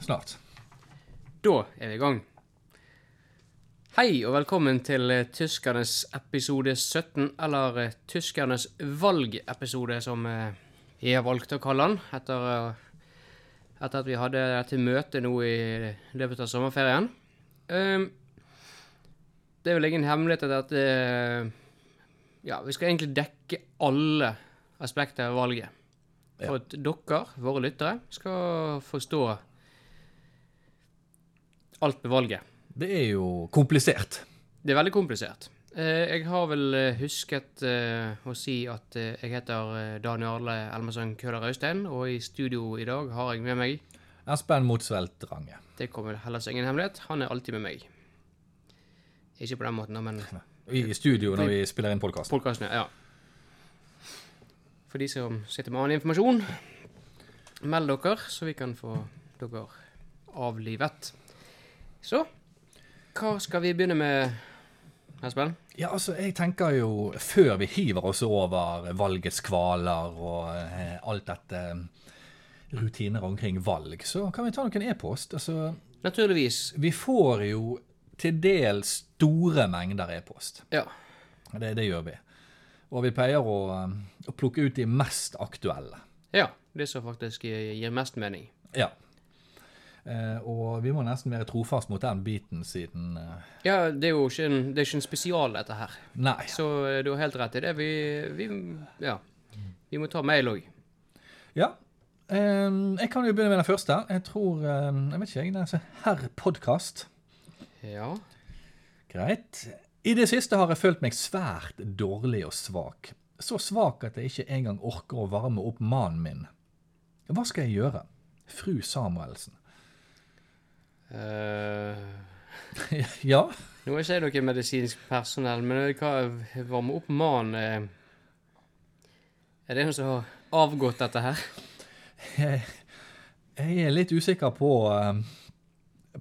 Snart. Da er vi i gang. Hei og velkommen til eh, Tyskernes episode 17, eller eh, Tyskernes valgepisode, som eh, vi har valgt å kalle den, etter, eh, etter at vi hadde dette møtet nå i løpet av sommerferien. Ehm, det er vel ingen hemmelighet at eh, ja, vi skal egentlig dekke alle aspekter av valget. Ja. For at dere, våre lyttere, skal forstå alt med valget. Det er jo komplisert. Det er veldig komplisert. Eh, Jeg har vel eh, husket eh, å si at eh, jeg heter eh, Dan Jarle Elmesøen Køhler Austein, og i studio i dag har jeg med meg Espen Motsvelt Range. Det kommer vel heller som ingen hemmelighet, han er alltid med meg. Ikke på den måten, da, men I studio når vi spiller inn podkast. podkasten, ja. For de som sitter med annen informasjon, meld dere, så vi kan få dere avlivet. Så hva skal vi begynne med, Espen? Ja, altså, jeg tenker jo, før vi hiver oss over valgets kvaler og eh, alt dette eh, rutiner omkring valg, så kan vi ta noen e-post. Altså, Naturligvis. vi får jo til dels store mengder e-post. Ja. Det, det gjør vi. Og vi pleier å, eh, å plukke ut de mest aktuelle. Ja, det som faktisk eh, gir mest mening. Ja. Eh, og vi må nesten være trofast mot den biten siden eh, Ja, det er jo ikke en, det er ikke en spesial, dette her. Nei. Så eh, du har helt rett i det. Vi, vi Ja. Vi må ta mail òg. Ja. Ehm, jeg kan jo begynne med den første. Jeg tror ehm, Jeg vet ikke, jeg. Den er Herr Podkast. Ja. Greit. I det siste har jeg følt meg svært dårlig og svak. Så svak at jeg ikke engang orker å varme opp mannen min. Hva skal jeg gjøre? Fru Samuelsen. Eh, ja? nå er ikke jeg noe medisinsk personell, men hva varme opp mannen eh, Er det noen som har avgått dette her? Jeg, jeg er litt usikker på ehm,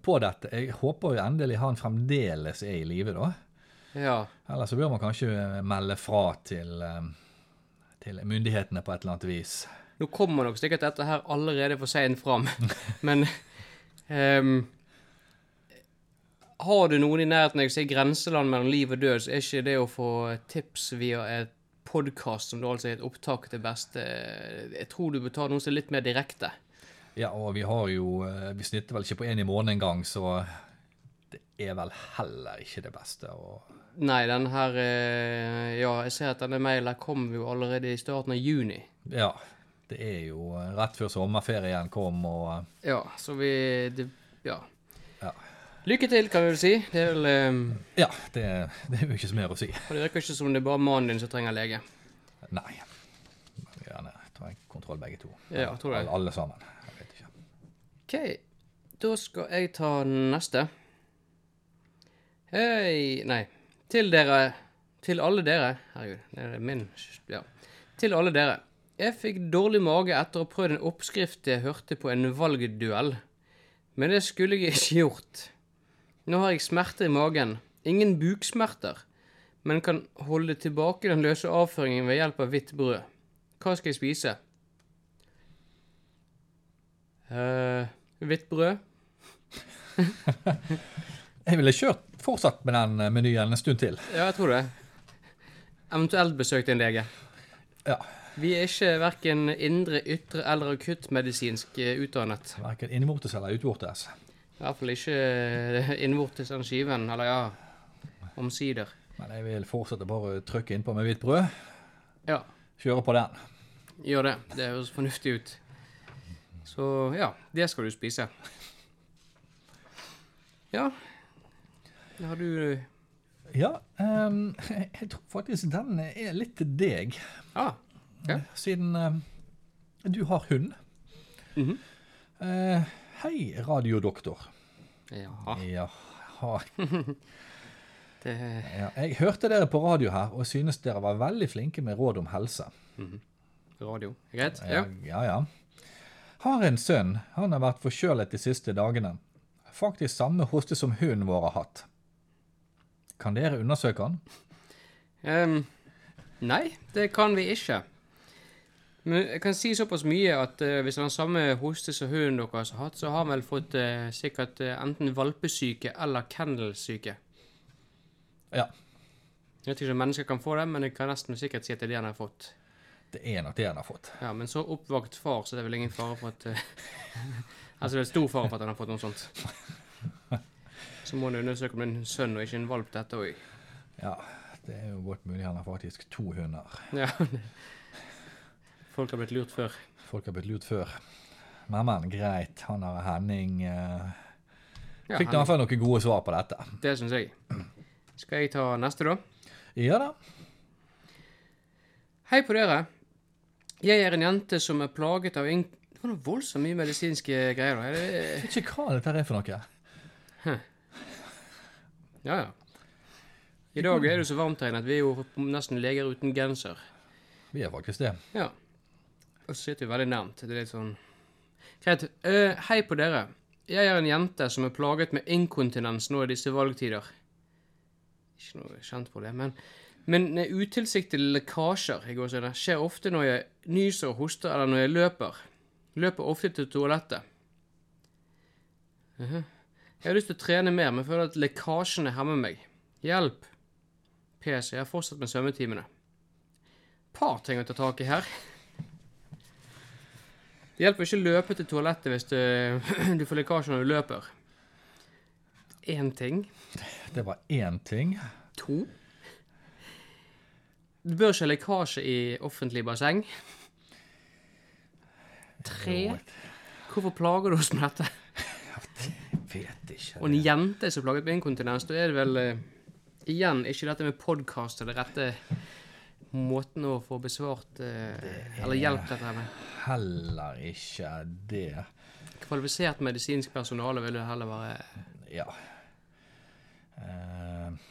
på dette. Jeg håper jo endelig han fremdeles er i live, da. Ja. Eller så bør man kanskje melde fra til, eh, til myndighetene på et eller annet vis. Nå kommer nok sikkert dette her allerede for seint fram, men ehm, Har du noen i nærheten jeg sier grenseland mellom liv og død, så er ikke det å få tips via et podkast som da altså er et opptak, det beste. Jeg tror du bør ta noe som er litt mer direkte. Ja, og vi har jo eh, Vi snitter vel ikke på én i måneden engang, så det er vel heller ikke det beste å Nei, den her eh, Ja, jeg ser at denne mailen her kom jo allerede i starten av juni. Ja. Det er jo eh, rett før sommerferien kom, og eh, Ja, så vi det, Ja. Ja. Lykke til, kan vi vel si. Det er vel ehm, Ja, det, det er jo ikke så mer å si. og Det virker ikke som det er bare mannen din som trenger lege. Nei. Vi må Gjerne ta en kontroll, begge to. Ja, jeg tror det. Alle, alle sammen. Jeg vet ikke. Ok, da skal jeg ta neste. Hei, nei, til dere, til alle dere, herregud, det er min, ja, til alle dere. Jeg fikk dårlig mage etter å prøve en oppskrift jeg hørte på en valgduell, men det skulle jeg ikke gjort. Nå har jeg smerter i magen, ingen buksmerter, men kan holde tilbake den løse avføringen ved hjelp av hvitt brød. Hva skal jeg spise? Eh, hvitt brød? Jeg ville kjørt fortsatt med den eh, menyen en stund til. Ja, jeg tror det. Eventuelt besøkt en lege. Ja. Vi er ikke verken indre, ytre eller akuttmedisinsk eh, utdannet. Verken innvortes eller utvortes. I hvert fall ikke eh, innvortes den skiven, eller ja, omsider. Men jeg vil fortsette bare å trykke innpå med hvitt brød. Ja, Kjøre på den. gjør det. Det høres fornuftig ut. Så ja, det skal du spise. Ja, det har du Ja, ehm, jeg tror faktisk den er litt til deg. Ja, Siden ehm, du har hund. Mhm. Eh, hei, radiodoktor. ja Jaha. det Ja, jeg hørte dere på radio her og synes dere var veldig flinke med råd om helse. radio. Greit? Ja, ja. ja. Har en sønn. Han har vært forkjølet de siste dagene. Faktisk samme hoste som hunden vår har hatt. Kan dere undersøke han? Ehm, nei, det kan vi ikke. Men jeg kan si såpass mye at eh, hvis den samme hoste som hunden deres har hatt, så har han vel fått eh, sikkert eh, enten valpesyke eller kennelsyke. Ja, Jeg vet ikke om mennesker kan få det, men jeg kan nesten sikkert si at det er det han har fått. det er nok det han har fått. Ja, Men så oppvakt far, så det er vel ingen fare for at eh, Altså, det er stor fare for at han har fått noe sånt. Så må han undersøke om det er en sønn og ikke en valp, dette òg. Ja, det er jo godt mulig han har faktisk to hunder. Ja. Folk har blitt lurt før. Folk har blitt lurt før. Men, men, greit. Han har Henning eh, Ja, Fikk i hvert fall noen gode svar på dette. Det syns jeg. Skal jeg ta neste, da? Ja da. Hei på dere. Jeg er en jente som er plaget av ing... Det var noe voldsomt mye medisinske greier. da. Er det- Vet ikke hva dette er for noe. Ja, ja. I dag er det så varmt her inne at vi er jo nesten leger uten genser. Vi er faktisk det. Ja. Og så sitter vi veldig nærmt. Det er litt sånn Greit. Eh, hei på dere. Jeg er en jente som er plaget med inkontinens nå i disse valgtider. Ikke noe kjent på det, men Men eh, utilsiktede lekkasjer i gåsehudet, skjer ofte når jeg nyser, hoster eller når jeg løper. Løper ofte til toalettet. Mhm. Jeg har lyst til å trene mer, men føler at lekkasjene hemmer meg. Hjelp! PS, jeg har fortsatt med svømmetimene par ting å ta tak i her. Det hjelper ikke å løpe til toalettet hvis du, du får lekkasje når du løper. Én ting. Det var én ting. To. Du bør ikke ha lekkasje i offentlig basseng. Tre. Jo, Hvorfor plager du oss med dette? Jeg vet ikke. Og en jente som plaget med inkontinens, da er det vel eh, igjen ikke dette med podkast og det rette måten å få besvart eh, eller hjelp dette her med. Heller ikke det. Kvalifisert medisinsk personale vil jo heller være Ja. Eh,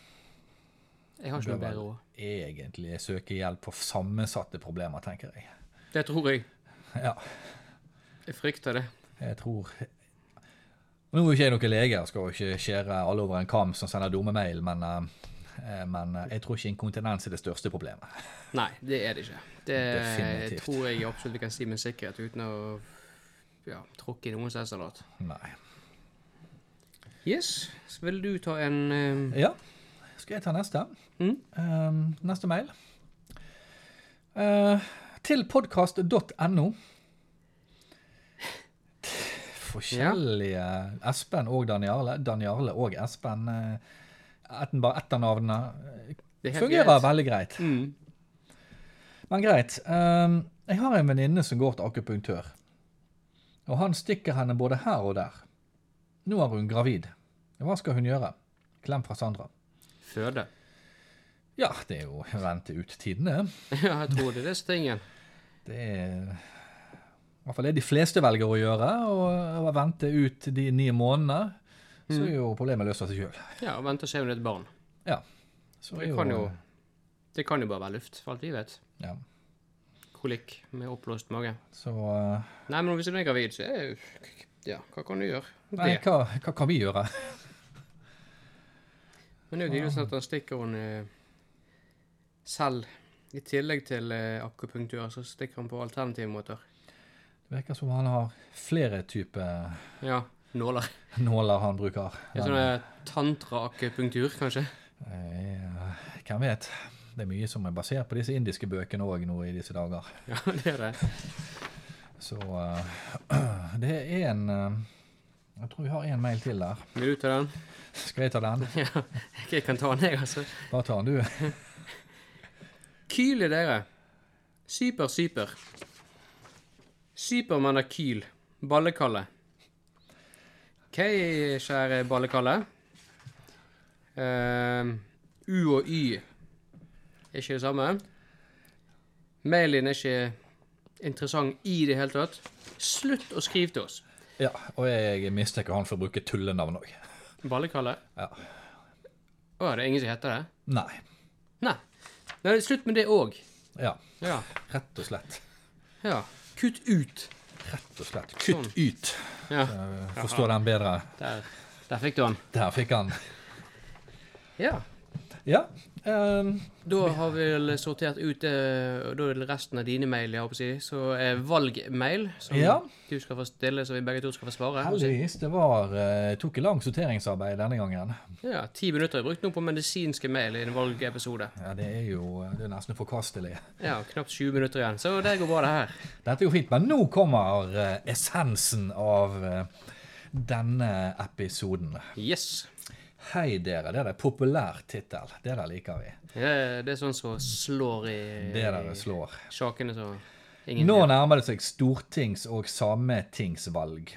Jeg har bør ikke noe vel bedre råd. egentlig søke hjelp for sammensatte problemer, tenker jeg. Det tror jeg. Ja, Jeg frykter det. jeg tror Nå er jo ikke jeg noen lege, jeg skal jo ikke skjære alle over en kam som sender dumme mail, men, eh, men eh, jeg tror ikke inkontinens er det største problemet. Nei, det er det ikke. Det Definitivt. tror jeg absolutt vi kan si med sikkerhet uten å ja, tråkke i noens hestesalat. Nei. Yes, så vil du ta en eh, Ja. Skal jeg ta neste? Mm. Ehm, neste mail. Eh, til podkast.no. Forskjellige Espen og Daniale. Daniale og Espen. eh, etten, bare etternavnene. Det er helt Fungerer greit. veldig greit. Mm. Men greit. ehm, jeg har en venninne som går til akupunktør. Og han stikker henne både her og der. Nå er hun gravid. Hva skal hun gjøre? Klem fra Sandra. Føde. Ja, det er jo vente ut tidene. ja, jeg tror det er det som er tingen. Det er i hvert fall det de fleste velger å gjøre, og å vente ut de ni månedene. Så Mm. er jo problemet løst av seg sjøl. Ja, og vente og se om det er et barn. Så Det kan jo Det kan jo bare være luft, for alt vi vet. Ja. Kolikk med oppblåst mage. Så eh, Nei, men hvis hun er gravid, så er jo Ja, hva kan du gjøre? Nei, Det. hva, hva kan vi gjøre? Men det er jo tydelig sånn at han stikker hun eh, selv. I tillegg til eh, akupunktur, så stikker han på alternative måter. Det virker som han har flere typer Ja, nåler. nåler han bruker. Det er sånn eh, tantra-akupunktur, kanskje. Eh, Hvem vet? Det er mye som er basert på disse indiske bøkene òg nå i disse dager. Ja, det er det. Så eh, det er en eh, Jeg tror vi har en mail til der. Vil du ta den? Skal jeg ta den? Ja, jeg kan ta den, jeg, altså. Bare ta den, du. Kyle, dere. Syper, syper. Sypermann er kyl. Ballekalle. Hei, kjære Ballekalle. Ehm, U og Y er ikke det samme. Mailen er ikke interessant i det hele tatt. Slutt å skrive til oss. Ja, og jeg mistenker han for å bruke tullenavn òg. Ballekalle? Ja. Å, det er ingen som heter det? Nei. Nei. Nei, slutt med det òg. Ja, Ja. rett og slett. ja. Kutt ut. Rett og slett. Kutt ut. Ja, Eh, Forstår den bedre. der, der fikk du den. Der fikk han. Ja. Ja. ehm, Da har vi vel sortert ut eh, da er det resten av dine mail, jeg håper å si. Så eh, valgmail, som Ja. du skal få stille, så vi begge to skal få svare. Og så- heldigvis. Det var, eh, tok lang sorteringsarbeid denne gangen. Ja, Ti minutter er brukt nå på medisinske mail i en valgepisode. Ja, Det er jo eh, det er nesten forkastelig. Ja, knapt 20 minutter igjen, så det går bra, det her. Dette går fint, men nå kommer eh, essensen av eh, denne episoden. Yes. Hei dere, det er en populær tittel. Det der liker vi. Ja, det er sånn som slår Det i dere slår. i sjakene, så ingen Nå nærmer det seg stortings- og sametingsvalg.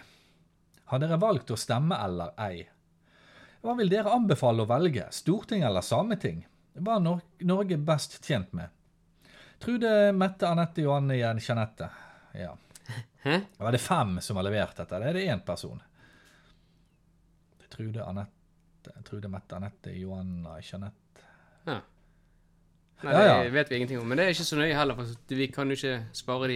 Har dere valgt å stemme eller ei? Hva vil dere anbefale å velge, storting eller sameting? Hva er Nor Norge best tjent med? Trude, Mette, Anette, Johanne, Jen- Jeanette. Ja. Hæ? Var det fem som har levert dette? Eller er det én person? Trude, Anette, Trude, Mette, Anette, Johanna, Jeanette Ja. Nei, Ja, ja. det vet vi ingenting om. Men det er ikke så nøye heller, for vi kan jo ikke spare de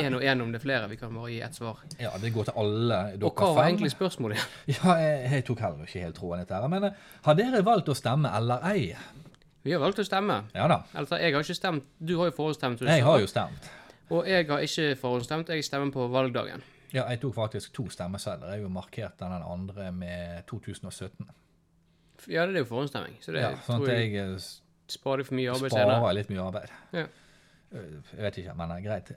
én og én om det er flere. Vi kan bare gi ett svar. Ja, det går til alle dere Og hva var fem. egentlig spørsmålet? igjen? Ja, jeg, jeg tok heller ikke helt troen dette her, men eh, har dere valgt å stemme eller ei? Vi har valgt å stemme. Ja da, Altså, jeg har ikke stemt. Du har jo forhåndsstemt. du jeg sa. har jo stemt. Og jeg har ikke forhåndsstemt. Jeg stemmer på valgdagen. Ja, jeg tok faktisk to stemmesedler. Jeg har jo markert den andre med 2017. Ja, det er jo forhåndsstemming, så det Ja, sånn tror at jeg jeg eh, sparer for mye arbeid senere. sparer litt mye arbeid. Ja. Eh, Jeg vet ikke, men eh, greit.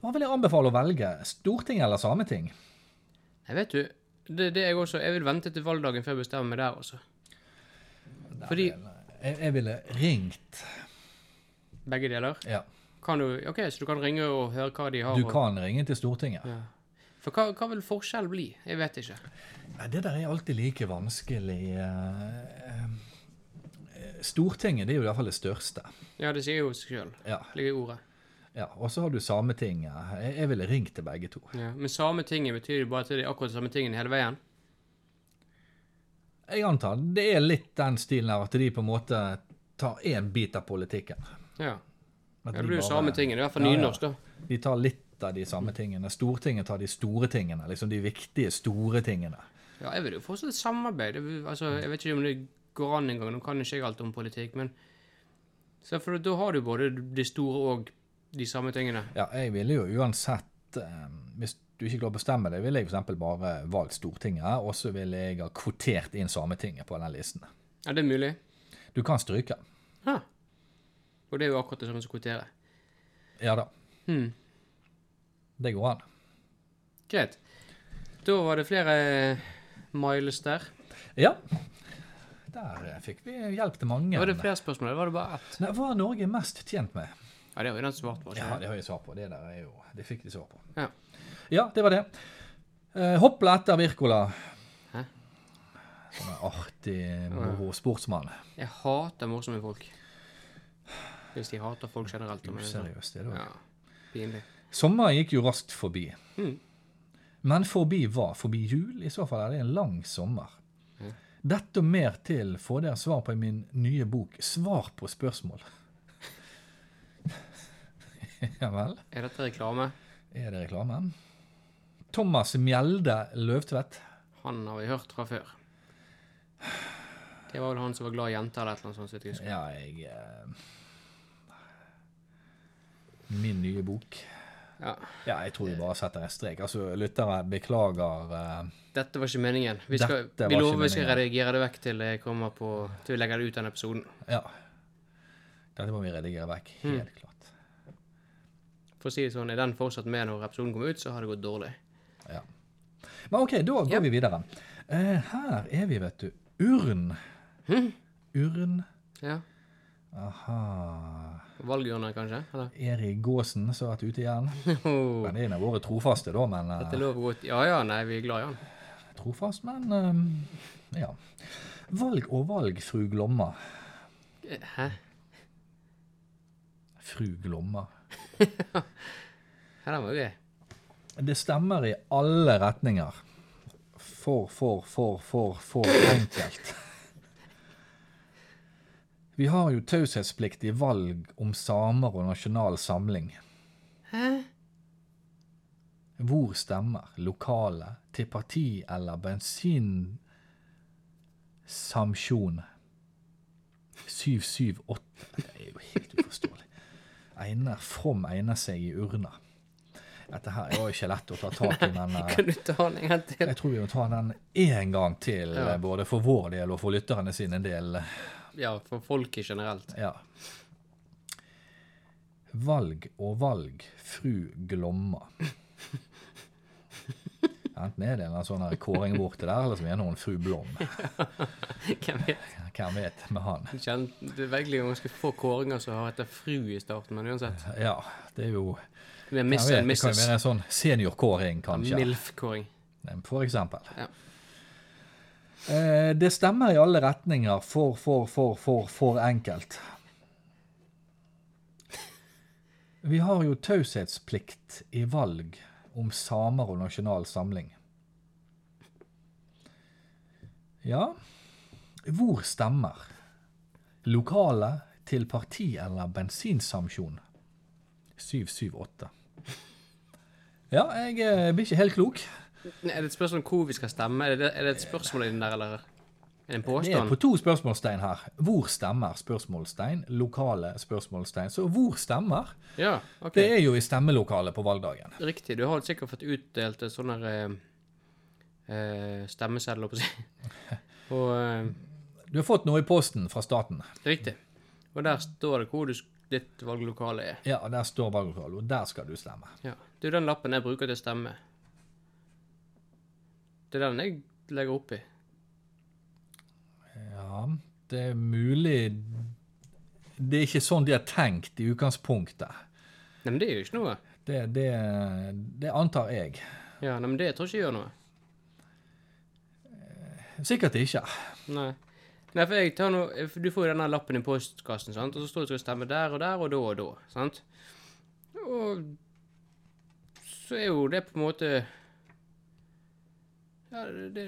Hva vil jeg anbefale å velge? Storting eller Sameting? Nei, vet du, det, det er jeg også. Jeg vil vente til valgdagen før jeg bestemmer meg der også. Fordi Jeg, jeg ville ringt. begge deler. Ja, Kan du, ok, Så du kan ringe og høre hva de har. du og- kan ringe til Stortinget. Ja. For hva, hva vil forskjell bli? Jeg vet ikke. Nei, det der er alltid like vanskelig. eh, eh, Stortinget det er jo i hvert fall det største. Ja, det sier jo seg sjøl. Ja, Ligger i ordet. Ja, og så har du Sametinget. Jeg, jeg ville ringt til begge to. Ja. Men samme tinget betyr jo bare at det er akkurat samme tingen hele veien. Jeg antar det er litt den stilen her at de på en måte tar én bit av politikken. Ja. At ja det de blir jo bare- samme tingen. I hvert fall Ja, ja. nynorsk, da. De tar litt av de samme tingene. Stortinget tar de store tingene. Liksom de viktige, store tingene. Ja, jeg vil jo fortsette samarbeid. Jeg, vil, altså, jeg vet ikke om det går an engang. Nå kan ikke jeg alt om politikk, men så for Da har du både de store og de samme tingene. Ja, jeg ville jo uansett eh, Hvis du ikke klarer å bestemme det, ville jeg f.eks. bare valgt Stortinget, og så ville jeg ha kvotert inn Sametinget på den listen. Er det mulig? Du kan stryke. Ja. Og det er jo akkurat det samme som kvotere. Ja da. Hmm. Det går an. Greit. Da var det flere eh, miles der. Ja. Der eh, fikk vi hjelp til mange. Var det flere spørsmål, eller var det bare ett? Nei, hva er Norge mest tjent med? Ja, det var jo den svart på. ikke Ja, sant? det har jeg svar på. Det der er jo Det fikk de svar på. Ja. Ja, det var det. Eh, hoppla etter Wirkola. Hæ? Sånn en artig moro sportsmann. Jeg hater morsomme folk. Hvis de hater folk generelt. da, men det er sånn. Useriøst, det da. Ja, pinlig. Sommeren gikk jo raskt forbi. Mm. Men forbi hva? Forbi jul? I så fall er det en lang sommer. Dette og mer til får dere svar på i min nye bok 'Svar på spørsmål'. ja vel? Er dette reklame? Er det reklame? Thomas Mjelde Løvtvedt. Han har vi hørt fra før. Det var vel han som var glad i jenter eller et eller annet sånt. så vidt jeg husker. Ja, jeg eh, Min nye bok. Ja. Ja, jeg tror vi bare setter en strek. Altså, lyttere, beklager. eh, Dette var ikke meningen. Vi, skal, Dette vi var lover ikke vi skal meningen. redigere det vekk til jeg kommer på Til vi legger det ut den episoden. Ja. Dette må vi redigere vekk, helt klart. For å si det sånn, er den fortsatt med når episoden kommer ut, så har det gått dårlig. Ja. Men OK, da går vi videre. Eh, her er vi, vet du. Urn. Urn. Ja. Aha. Valgurner, kanskje? Eller? Oh, Erik Gåsen som har vært ute igjen. Dette Han er en av våre trofaste, da, men eh, er lov å gå ut Ja ja, nei, vi er glad i han. Trofast, men eh, ja. Valg og valg, fru Glomma. Eh, Hæ? Fru Glomma. Ja, den var jo gøy. Det stemmer i alle retninger. For, for, for, for, for enkelt. Vi har jo taushetsplikt i valg om samer og nasjonal samling. Hæ? Hvor stemmer lokale til parti eller bensinsamsjon? 778. Det er jo helt uforståelig. Einar From egner seg i urna. Dette her var jo ikke lett å ta tak i, men eh, Kan du ta den en gang til? jeg tror vi må ta den én gang til, Ja. eh, både for vår del og for lytterne sin del. Ja, for folket generelt. Ja. Valg og valg, fru Glomma. Enten er det en eller annen sånn her kåring borte der, eller så er det noen fru Blom. Hvem vet? Hvem vet med han. Du kjenner- Det er egentlig ganske få kåringer som har etter fru i starten, men uansett. Ja, det er jo Det er jeg miss vet, and Det kan jo misses. være en sånn seniorkåring, kanskje. Milf-kåring. For eksempel. Ja. Eh, Det stemmer i alle retninger for, for, for, for, for enkelt. Vi har jo taushetsplikt i valg om samer og nasjonal samling. Ja Hvor stemmer? Lokale til parti eller bensinsamsjon? 778. Ja, jeg eh, blir ikke helt klok. Nei, Er det et spørsmål om hvor vi skal stemme? Er det, er det et spørsmål i den der, eller? Er det en Det er påstand? på to spørsmålstegn her. Hvor stemmer? Spørsmålstegn. Lokale spørsmålstegn. Så hvor stemmer? Ja, ok. Det er jo i stemmelokalet på valgdagen. Riktig. Du har sikkert fått utdelt et sånn der eh, eh, stemmeseddel, holdt jeg på å si. Og eh, Du har fått noe i posten fra staten. Riktig. Og der står det hvor du, sk- ditt valglokale er. Ja, der står valglokalet, og der skal du stemme. Ja. Det er jo den lappen jeg bruker til å stemme. Det er den jeg legger opp i. Ja, det er mulig Det er ikke sånn de har tenkt i utgangspunktet. Nei, men det gjør jo ikke noe. Det, det, det antar jeg. Ja, nei, men det tror jeg ikke gjør noe. Sikkert ikke. Nei. Nei, for jeg tar noe, for Du får jo denne lappen i postkassen, sant? og så står det at du skal stemme der og der og da og da. sant? Og så er jo det på en måte Ja, det, det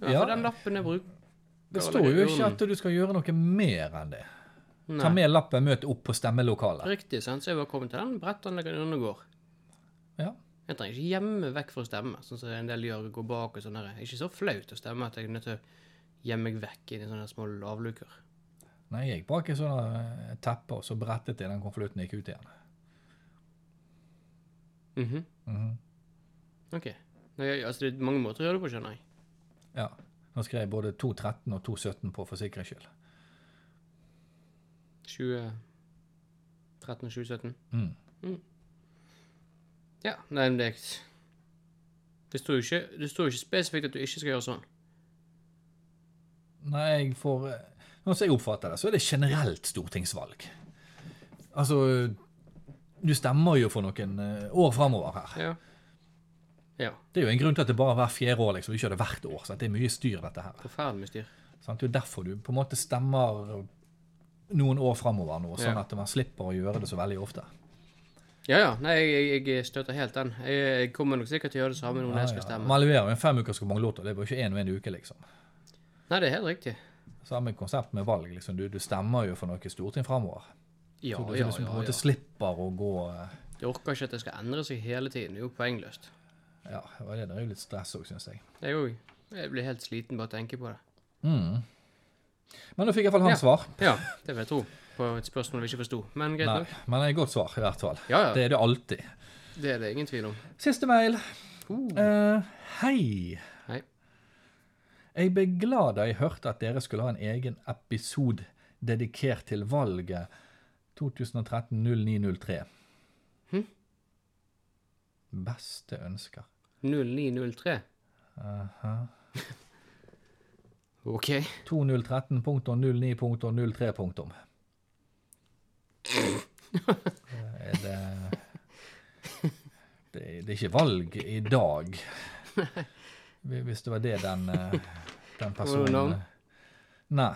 ja, Ja. For den lappen jeg bruker Det står jo ikke at du skal gjøre noe mer enn det. Ta Nei. med lappen, møt opp på stemmelokalet. Riktig, sant? så jeg bare kommer til den brettanleggeren undergår. Ja. Jeg trenger ikke gjemme vekk for å stemme, sånn som en del gjør, går bak og sånn der. Det er ikke så flaut å stemme at jeg er nødt til å gjemme meg vekk inni sånne små lavluker. Nei, jeg gikk bak et sånt eh, teppe, og så brettet jeg den konvolutten og gikk ut igjen. Mhm. Ok. Nei, jeg- altså, det er mange måter å gjøre det på, skjønner jeg. Ja. Nå skrev jeg både 2.13 og 2.17 på for sikkerhets skyld. 2013 og 2017. Mm. Ja, nei, men det er det står, jo ikke, det står jo ikke spesifikt at du ikke skal gjøre sånn. Nei, jeg får eh, Nå som jeg oppfatter det, så er det generelt stortingsvalg. Altså Du stemmer jo for noen eh, år framover her. Ja. Ja. Det er jo en grunn til at det bare er hver fjerde år, liksom. Du ikke gjør det hvert år. Sant? Det er mye styr, dette her. Forferdelig med styr. Sant? Det er jo derfor du på en måte stemmer noen år framover nå, sånn Ja. at man slipper å gjøre det så veldig ofte. Ja, ja. Nei, jeg, jeg støtter helt den. Jeg, jeg kommer nok sikkert til å gjøre det samme nå når jeg skal stemme. Man leverer jo en femukerskommanglåt, og det er bare ikke én og én uke, liksom. Nei, det er helt riktig. Samme konsept med valg. liksom. Du, du stemmer jo for noe storting framover. Ja, Så du ja, liksom på en ja. måte ja. slipper å gå eh, Jeg orker ikke at det skal endre seg hele tiden. Det er jo poengløst. Ja, det var det. Det er jo litt stress òg, syns jeg. Jeg òg. Jeg blir helt sliten bare av å tenke på det. Mm. Men da fikk iallfall han svar. Ja, det vil jeg tro. På et spørsmål vi ikke forsto. Men greit Nei, nok. men et godt svar, i hvert fall. Ja, ja. Det er det alltid. Det er det ingen tvil om. Siste mail. Uh, Eh, hei. Hei. Jeg ble glad da jeg hørte at dere skulle ha en egen episode dedikert til valget 2013-0903. Hm? Beste ønsker. 0903. OK. 2013.09.03. punktum. Eh, Er det, det Det er ikke valg i dag. Hvis det var det den, eh, den navn? personen Nei.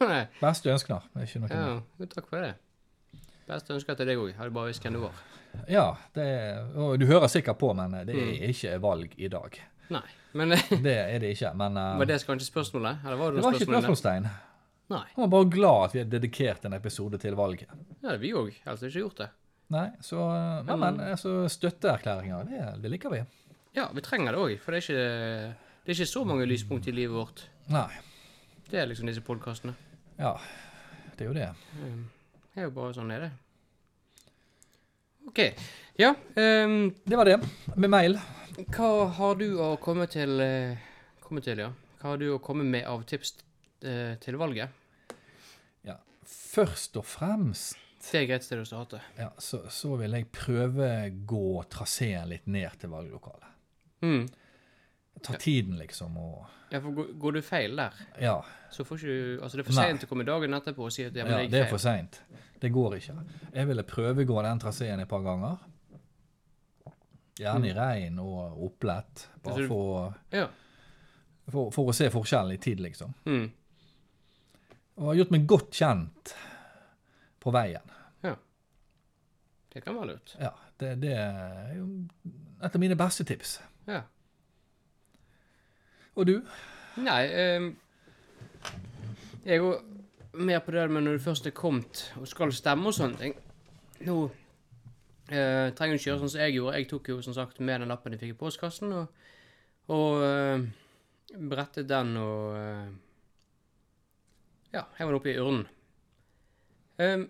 Nei, Beste ønsker. Det er ikke noe ja, mer. jo, takk for det. Beste ønsker til deg òg. Hadde bare visst hvem du var. Ja, det er, og du hører sikkert på, men eh, det er Mm. ikke valg i dag. Nei. Men eh, Det er det ikke. Men eh, var det kanskje spørsmålet? Eller var det det noe var ikke et spørsmål? inne? spørsmålstegn. Nei. Han var bare glad at vi hadde dedikert en episode til valget. Ja, det er vi òg. Ellers hadde vi ikke gjort det. Nei, så, men, men altså, støtteerklæringer, det, det liker vi. Ja, vi trenger det òg. For det er, ikke, det er ikke så mange lyspunkt i livet vårt. Nei. Det er liksom disse podkastene. Ja, det er jo det. Det er jo bare sånn er det. OK. Ja, ehm, Det var det. Med mail. hva har du å komme til, eh, komme til ja? Hva har du å komme med av tips eh, til valget? Ja. Først og fremst Det er et greit sted å starte. ja, så, så vil jeg prøvegå traseen litt ned til valglokalet. Mm. Ta tiden, liksom, og Ja, for går- går du feil der, Ja. så får ikke du Altså, det er for Nei. seint å komme dagen etterpå og si at ja, men ja jeg det er gikk for feil. seint. Det går ikke. Jeg ville prøvegå den traseen et par ganger. Mm. Gjerne i regn og opplett, bare Altså, du- for, å- Ja. for, for å se forskjellen i tid, liksom. Mm. Og har gjort meg godt kjent på veien. Det kan være lurt. Ja, det, det er jo et av mine beste tips. Ja. Og du? Nei ehm, Jeg går mer på det med når du først er kommet og skal stemme og sånne ting. Nå eh, trenger du ikke gjøre sånn som jeg gjorde. Jeg tok jo som sagt med den lappen jeg fikk i postkassen, og, og eh, brettet den og eh, Ja, jeg var oppe i urnen. Ehm,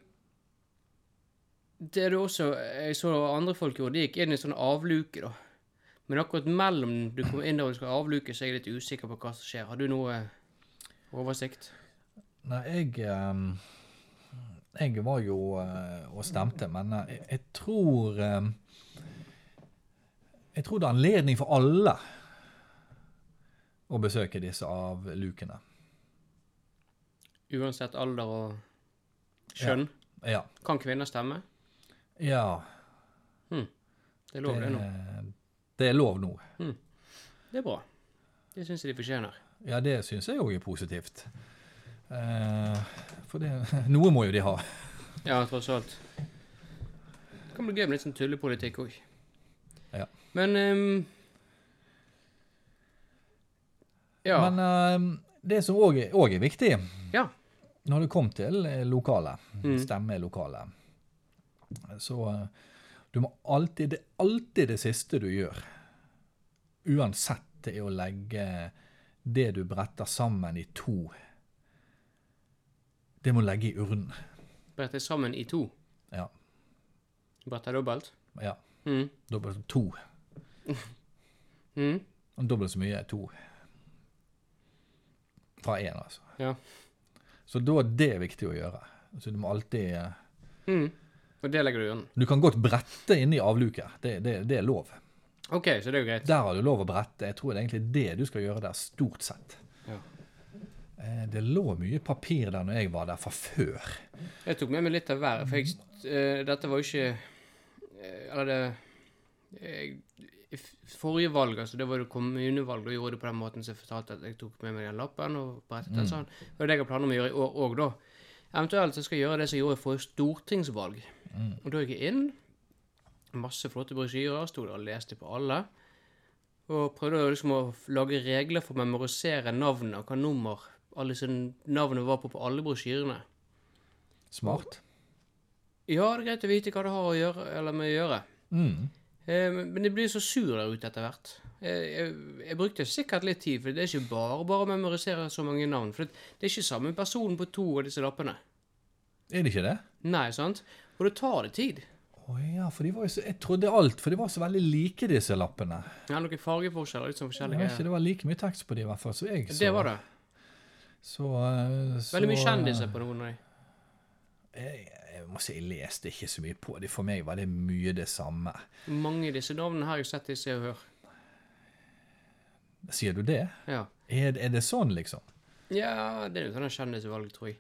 det er det også eh, Jeg så andre folk gjorde. De gikk inn i sånn avluke, da. Men akkurat mellom du kommer inn der og du skal avluke, så er jeg litt usikker på hva som skjer. Har du noe eh, oversikt? Nei, jeg ehm, Jeg var jo eh, og stemte, men eh, jeg, jeg tror ehm, Jeg tror det er anledning for alle å besøke disse avlukene. Uansett alder og kjønn. Ja. Kan kvinner stemme? ja Det er det, lov, det nå. det er lov nå. Det er bra. Det syns jeg de fortjener. Ja, det syns jeg òg er positivt. Eh, for det, noe må jo de ha. Ja, tross alt. Det kan bli gøy med litt sånn tullepolitikk òg. Ja. Men ehm, Ja. Men eh, det som òg er, og er viktig Ja. når det kom til eh, lokalet, Mm. stemmelokalet, så eh, du må alltid, det er alltid det siste du gjør, uansett, det er å legge det du bretter sammen i to. Det må legge i urnen. Bretter sammen i to. Ja. Bretter dobbelt. ja. Mm. Dobbelt to. Mm. Dobbelt så mye er to. Fra én, altså. Ja. Så da er det viktig å gjøre. Så du må alltid eh, Mm. Og det legger du i urnen. Du kan godt brette inni avluket. Det, det, det er lov. OK, så det er jo greit. Der har du lov å brette. Jeg tror det er egentlig det du skal gjøre der, stort sett. Ja. Eh, Det lå mye papir der når jeg var der fra før. Jeg tok med meg litt av hver, for jeg, eh, dette var jo ikke eh, Eller det jeg- i f- Forrige valg, altså, det var jo kommunevalg, og gjorde det på den måten som jeg fortalte at jeg tok med meg den lappen og brettet den sånn. Og det er det jeg har planer om å gjøre i år òg, da. Eventuelt så skal jeg gjøre det som jeg gjorde forrige stortingsvalg. Og da gikk jeg inn. Masse flotte brosjyrer. Sto der og leste på alle. Og prøvde å liksom å f- lage regler for å memorisere navnene og hva nummer alle sine navnene var på på alle brosjyrene. Smart. Ja, det er greit å vite hva det har å gjøre, eller med å gjøre. Mm. Eh, men- men jeg blir så sur der ute etter hvert. Jeg, jeg, jeg brukte sikkert litt tid, for det er ikke bare bare å memorisere så mange navn. For det, det er ikke samme person på to av disse lappene. Er det ikke det? Nei, sant? Og det tar det tid. Å ja, for de var jo så, jeg trodde alt, for de var så veldig like, disse lappene. Jeg har noen fargeforskjeller, litt sånn Jeg vet forskjellige. ikke, Det var like mye tekst på de i hvert fall. Så jeg så, det var det. Så, eh, så Veldig mye kjendiser på noen av de. Jeg, jeg må si, jeg leste ikke så mye på de. For meg var det mye det samme. Mange av disse navnene har jeg sett i Se og Hør. Sier du det? Ja. Er, er det sånn, liksom? Ja, det er jo sånn kjendisvalg, tror jeg.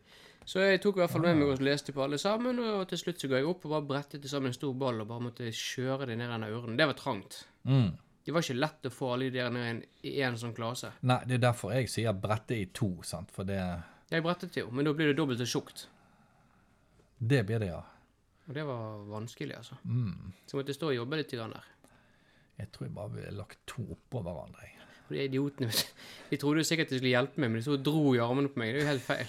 Så jeg tok i hvert fall med meg og leste på alle sammen, og til slutt så ga jeg opp og bare brettet til sammen en stor ball og bare måtte kjøre det ned i denne urnen. Det var trangt. Mm. Det var ikke lett å få alle de der ned i en- i én sånn klase. Nei, det er derfor jeg sier brette i to, sant? For det, Jeg brettet jo, men da blir det dobbelt så tjukt. det blir det, ja. Og det var vanskelig, altså. Så jeg måtte stå og jobbe litt grann der. Jeg tror jeg bare ville lagt to oppå hverandre. jeg. Og de idiotene vet du, De trodde jo sikkert de skulle hjelpe meg, men de sto og dro i armene på meg. Det er jo helt feil.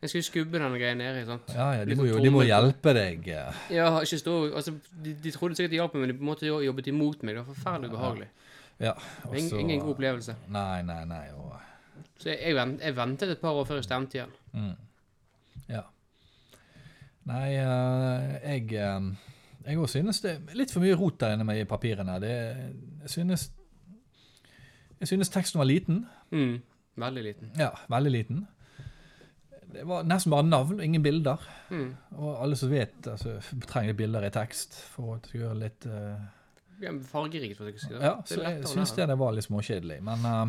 Jeg skulle skubbe denne greia nedi, sant. Ja, ja, de Litt må sånn jo de må tomme- hjelpe deg. eh. Ja, ikke stå Altså, de, de trodde sikkert de hjalp meg, men de på en måte jo- jobbet imot meg. Det var forferdelig ubehagelig. Ja, og Ingen, så- ingen god opplevelse. Nei, nei, nei. Og, Så jeg, jeg, vent, jeg ventet et par år før jeg stemte igjen. Mm. Ja. Nei, eh, jeg eh, Jeg òg synes det er litt for mye rot der inne med i papirene. Det, jeg synes Jeg synes teksten var liten. Mm. Veldig liten. Ja, veldig liten. Det var nesten bare navn og ingen bilder. Mm. Og alle som vet, altså, trenger bilder i tekst for å gjøre litt eh, Ja, men Fargerikt, for å si det. sånn. Ja, Det så er jeg lettere å syns lære. det, det var litt småkjedelig. Men eh,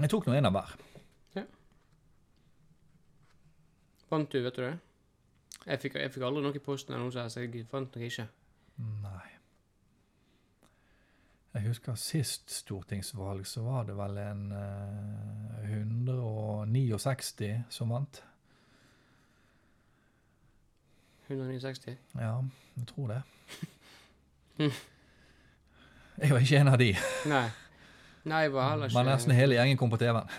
jeg tok nå en av hver. Fant du, vet du det? Jeg fikk, jeg fikk aldri noe i posten eller noe sånt, så jeg fant nok ikke. Nei. Jeg husker sist stortingsvalg, så var det vel en eh, 169 som vant. 169. Ja, jeg tror det. Jeg var ikke en av de, Nei. Nei, jeg var heller ikke men nesten hele gjengen kom på TV-en.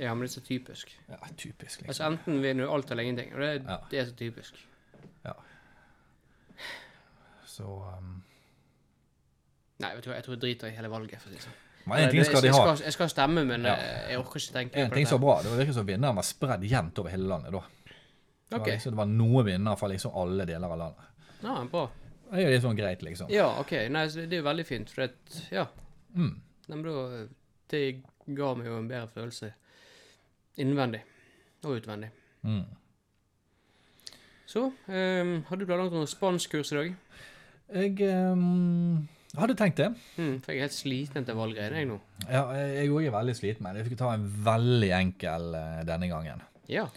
Ja, men det er så typisk. Ja, typisk, liksom. Altså, enten vinner du alt eller ingenting, og det, Ja. det er så typisk. Så um, Nei, vet du hva, jeg tror jeg driter i hele valget, for å si det sånn. Men én Jeg- ting skal de jeg, ha. jeg, skal, jeg skal stemme, men Ja. eh, jeg orker ikke tenke En ting som var bra, det virket som vinneren var spredd jevnt over hele landet. da. Det var, Ok. liksom, det var noen vinnere fra liksom alle deler av landet. Ja, bra. Det er jo litt sånn greit, liksom. Ja, OK. Nei, så det er jo veldig fint, for at Ja. Mm. Nei, men da Det ga meg jo en bedre følelse innvendig og utvendig. Mm. Så ehm, Har du planlagt noe spanskkurs i dag? Jeg ehm, hadde tenkt det. Mm, for jeg er helt sliten etter valggreiene, jeg nå. Ja, jeg òg er veldig sliten, men jeg fikk ta en veldig enkel eh, denne gangen. Ja.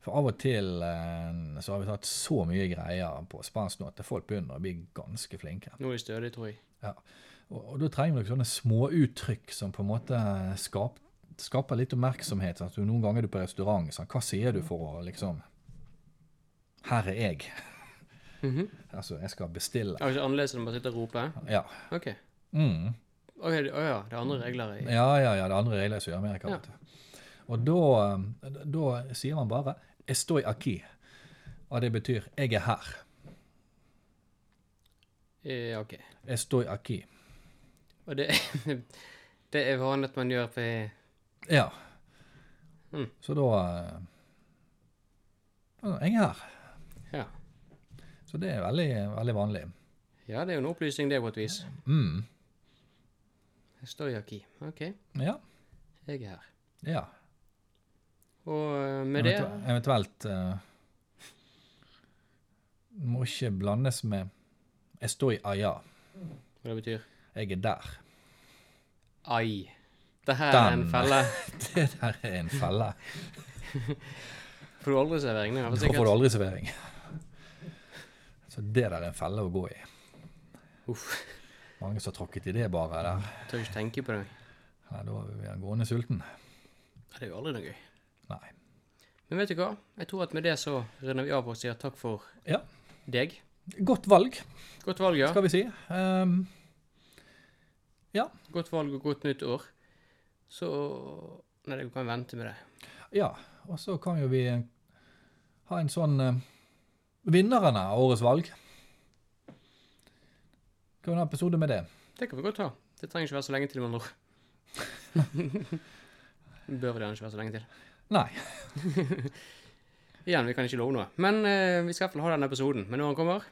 For av og til eh, så har vi tatt så mye greier på spansk nå at folk begynner å bli ganske flinke. Nå er jeg stødig, tror jeg. Ja. Og, og da trenger du sånne småuttrykk som på en måte skap, skaper litt oppmerksomhet. sant? Du, noen ganger er du på restaurant, sant? hva sier du for å liksom Her er jeg. Mhm. Altså, jeg skal bestille. Er det ikke annerledes enn å bare sitte og rope? Ja. OK. Mm. Å ja, å ja, det er andre regler i Ja, ja, ja. Det er andre regler i Sør-Amerika. Ja. vet du. Og da, eh, da sier man bare 'estoy aquí'. Og det betyr 'jeg er her'. Ja, OK. Estoy aquí. Og det, det er vanlig at man gjør på Ja. Mm. Så da eh, ja, 'Jeg er her'. Ja. Så det er veldig, veldig vanlig. Ja, det er jo en opplysning, det, på et vis. Mm. Jeg står i aki. OK, Ja. jeg er her. ja. Og eh, med det Eventu- Eventuelt eh, Må ikke blandes med 'estoy allá'. Hva det betyr? Jeg er der. Ai. Det her er Den. en felle. Det der er en felle. Får du aldri servering? Nå, Da får du aldri servering. Så det der er en felle å gå i. Uff, Mange som har tråkket i det bare der. jeg tør ikke tenke på det. Nei, da blir han gående sulten. Ja, Det er jo aldri noe gøy. Nei. Men vet du hva? Jeg tror at med det så runder vi av og sier takk for Ja. deg. Godt valg, Godt valg, ja. skal vi si. Ehm, Godt valg og godt nytt år. Så Nei, du kan vente med det. ja, og så kan jo vi ha en sånn eh, Vinnerne av årets valg. Kan vi ha en episode med det? Det kan vi godt ta. Det trenger ikke være så lenge til, med andre ord. Bør det gjerne ikke være så lenge til. Nei. Igjen, vi kan ikke love noe. Men eh, vi skal i hvert fall ha denne episoden. Men når han kommer,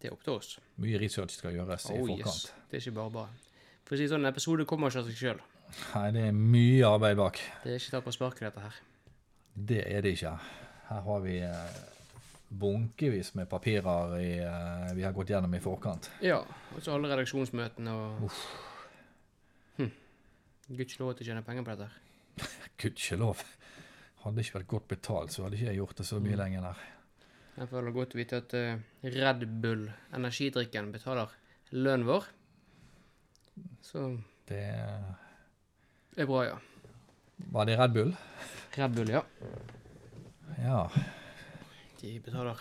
det er opp til oss. Mye research skal gjøres i Oh, yes. forkant. Det er ikke bare bare. For å si det sånn, en episode kommer ikke av seg sjøl. Nei, det er mye arbeid bak. Det er ikke tatt på sparket, dette her. Det er det ikke. Her har vi eh, bunkevis med papirer i, eh, vi har gått gjennom i forkant. Ja, og så alle redaksjonsmøtene og Uff. Hm. Gudskjelov at de tjener penger på dette. her. Gudskjelov. Hadde ikke vært godt betalt, så hadde ikke jeg gjort det så Mm. mye lenger der. Jeg føler godt å vite at eh, Red Bull, energidrikken, betaler lønnen vår. Så Det eh, det er bra, ja. Var det Red Bull? Red Bull, ja. Ja. De betaler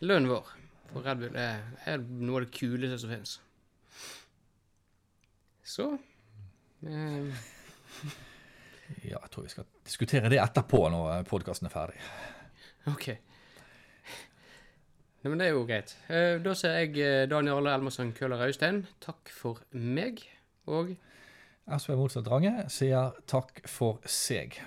lønnen vår. For Red Bull er, er noe av det kuleste som finnes. Så eh, ja. Jeg tror vi skal diskutere det etterpå, når podkasten er ferdig. OK. Nei, men det er jo greit. Eh, da sier jeg eh, Daniel Arle Elmersen Køhler Austein takk for meg, og SV Motsatt Range sier takk for seg.